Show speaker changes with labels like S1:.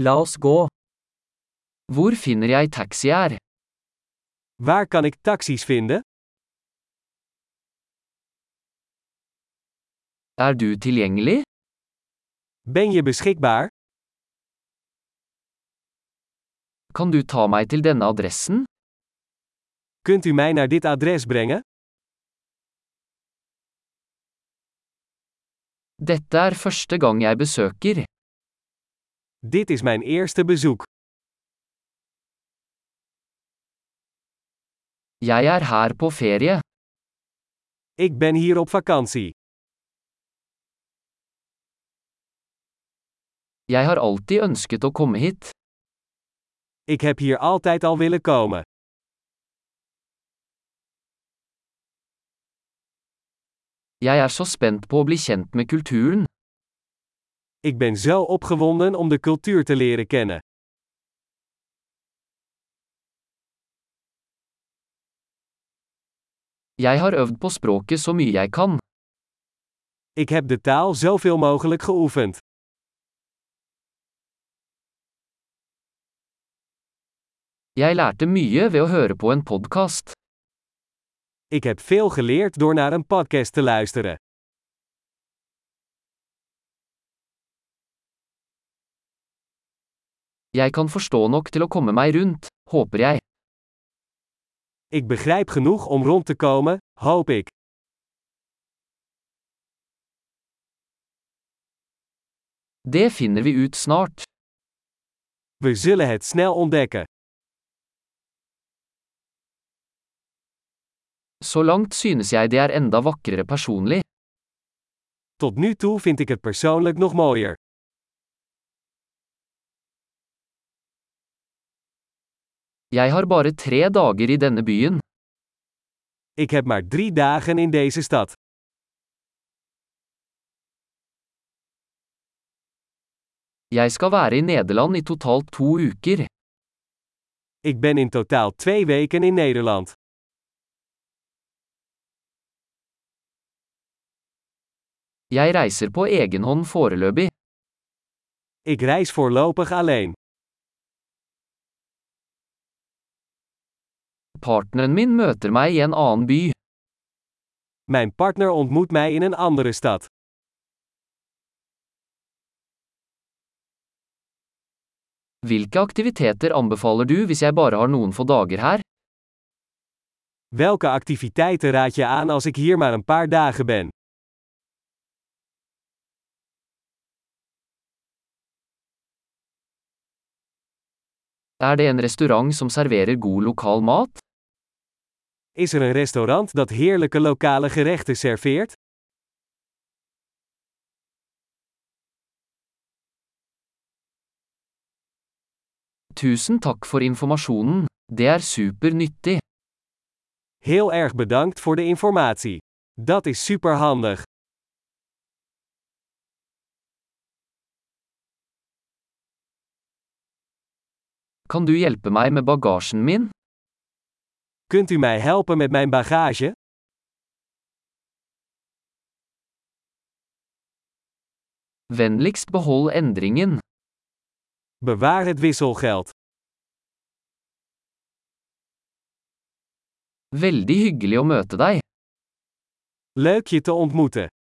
S1: La oss gå. Hvor finner jeg taxi her?
S2: Waar kan ik taxis vinden?
S1: Er du tilgjengelig?
S2: Ben je beschikbaar?
S1: Kan du ta meg til denne adressen?
S2: Kunt u mij naar dit adres brengen?
S1: Dette er første gang jeg besøker.
S2: Dit is mijn eerste bezoek.
S1: Jeg er her på ferie.
S2: Ik ben hier op vakantie.
S1: Jeg har alltid ønsket å komme hit.
S2: Ik heb hier altijd al willen komen.
S1: Jeg er så spent på å bli kjent med kulturen.
S2: Ik ben zo opgewonden om de cultuur te leren kennen.
S1: Jeg har øvd på språket så mye jeg kan.
S2: Ik heb de taal zoveel mogelijk geoefend.
S1: Jeg lærte mye ved å høre på en podkast.
S2: Ik heb veel geleerd door naar een podcast te luisteren.
S1: Jeg kan forstå nok til å komme meg rundt, håper jeg.
S2: Ik begrijp genoeg om rond te komen, hoop ik.
S1: Det finner vi ut snart.
S2: We zullen het snel ontdekken.
S1: Så langt synes jeg det er enda vakrere personlig.
S2: Tot nu toe vind ik het persoonlijk nog mooier.
S1: Jeg har bare tre dager i denne byen.
S2: Ik heb maar drie dagen in deze stad.
S1: Jeg skal være i Nederland i totalt to uker.
S2: Ik ben in totaal twee weken in Nederland.
S1: Jeg reiser på egen hånd foreløpig.
S2: Ik reis voorlopig alleen.
S1: Partneren min møter meg i en annen by.
S2: Mijn partner ontmoet mij in een andere stad.
S1: Hvilke aktiviteter anbefaler du hvis jeg bare har noen få dager her?
S2: Welke activiteiten raad je aan als ik hier maar een paar dagen ben?
S1: Er det en restaurant som serverer god lokal mat?
S2: Is er een restaurant dat heerlijke lokale gerechten serveert?
S1: Tusen takk for informasjonen. Det er supernyttig.
S2: Heel erg bedankt voor de informatie. Dat is superhandig.
S1: Kan du hjelpe meg med bagasjen min?
S2: Kunt u mij helpen met mijn bagage?
S1: Vennligst behold endringen.
S2: Bewaar het wisselgeld.
S1: Veldig hyggelig å møte deg.
S2: Leuk je te ontmoeten.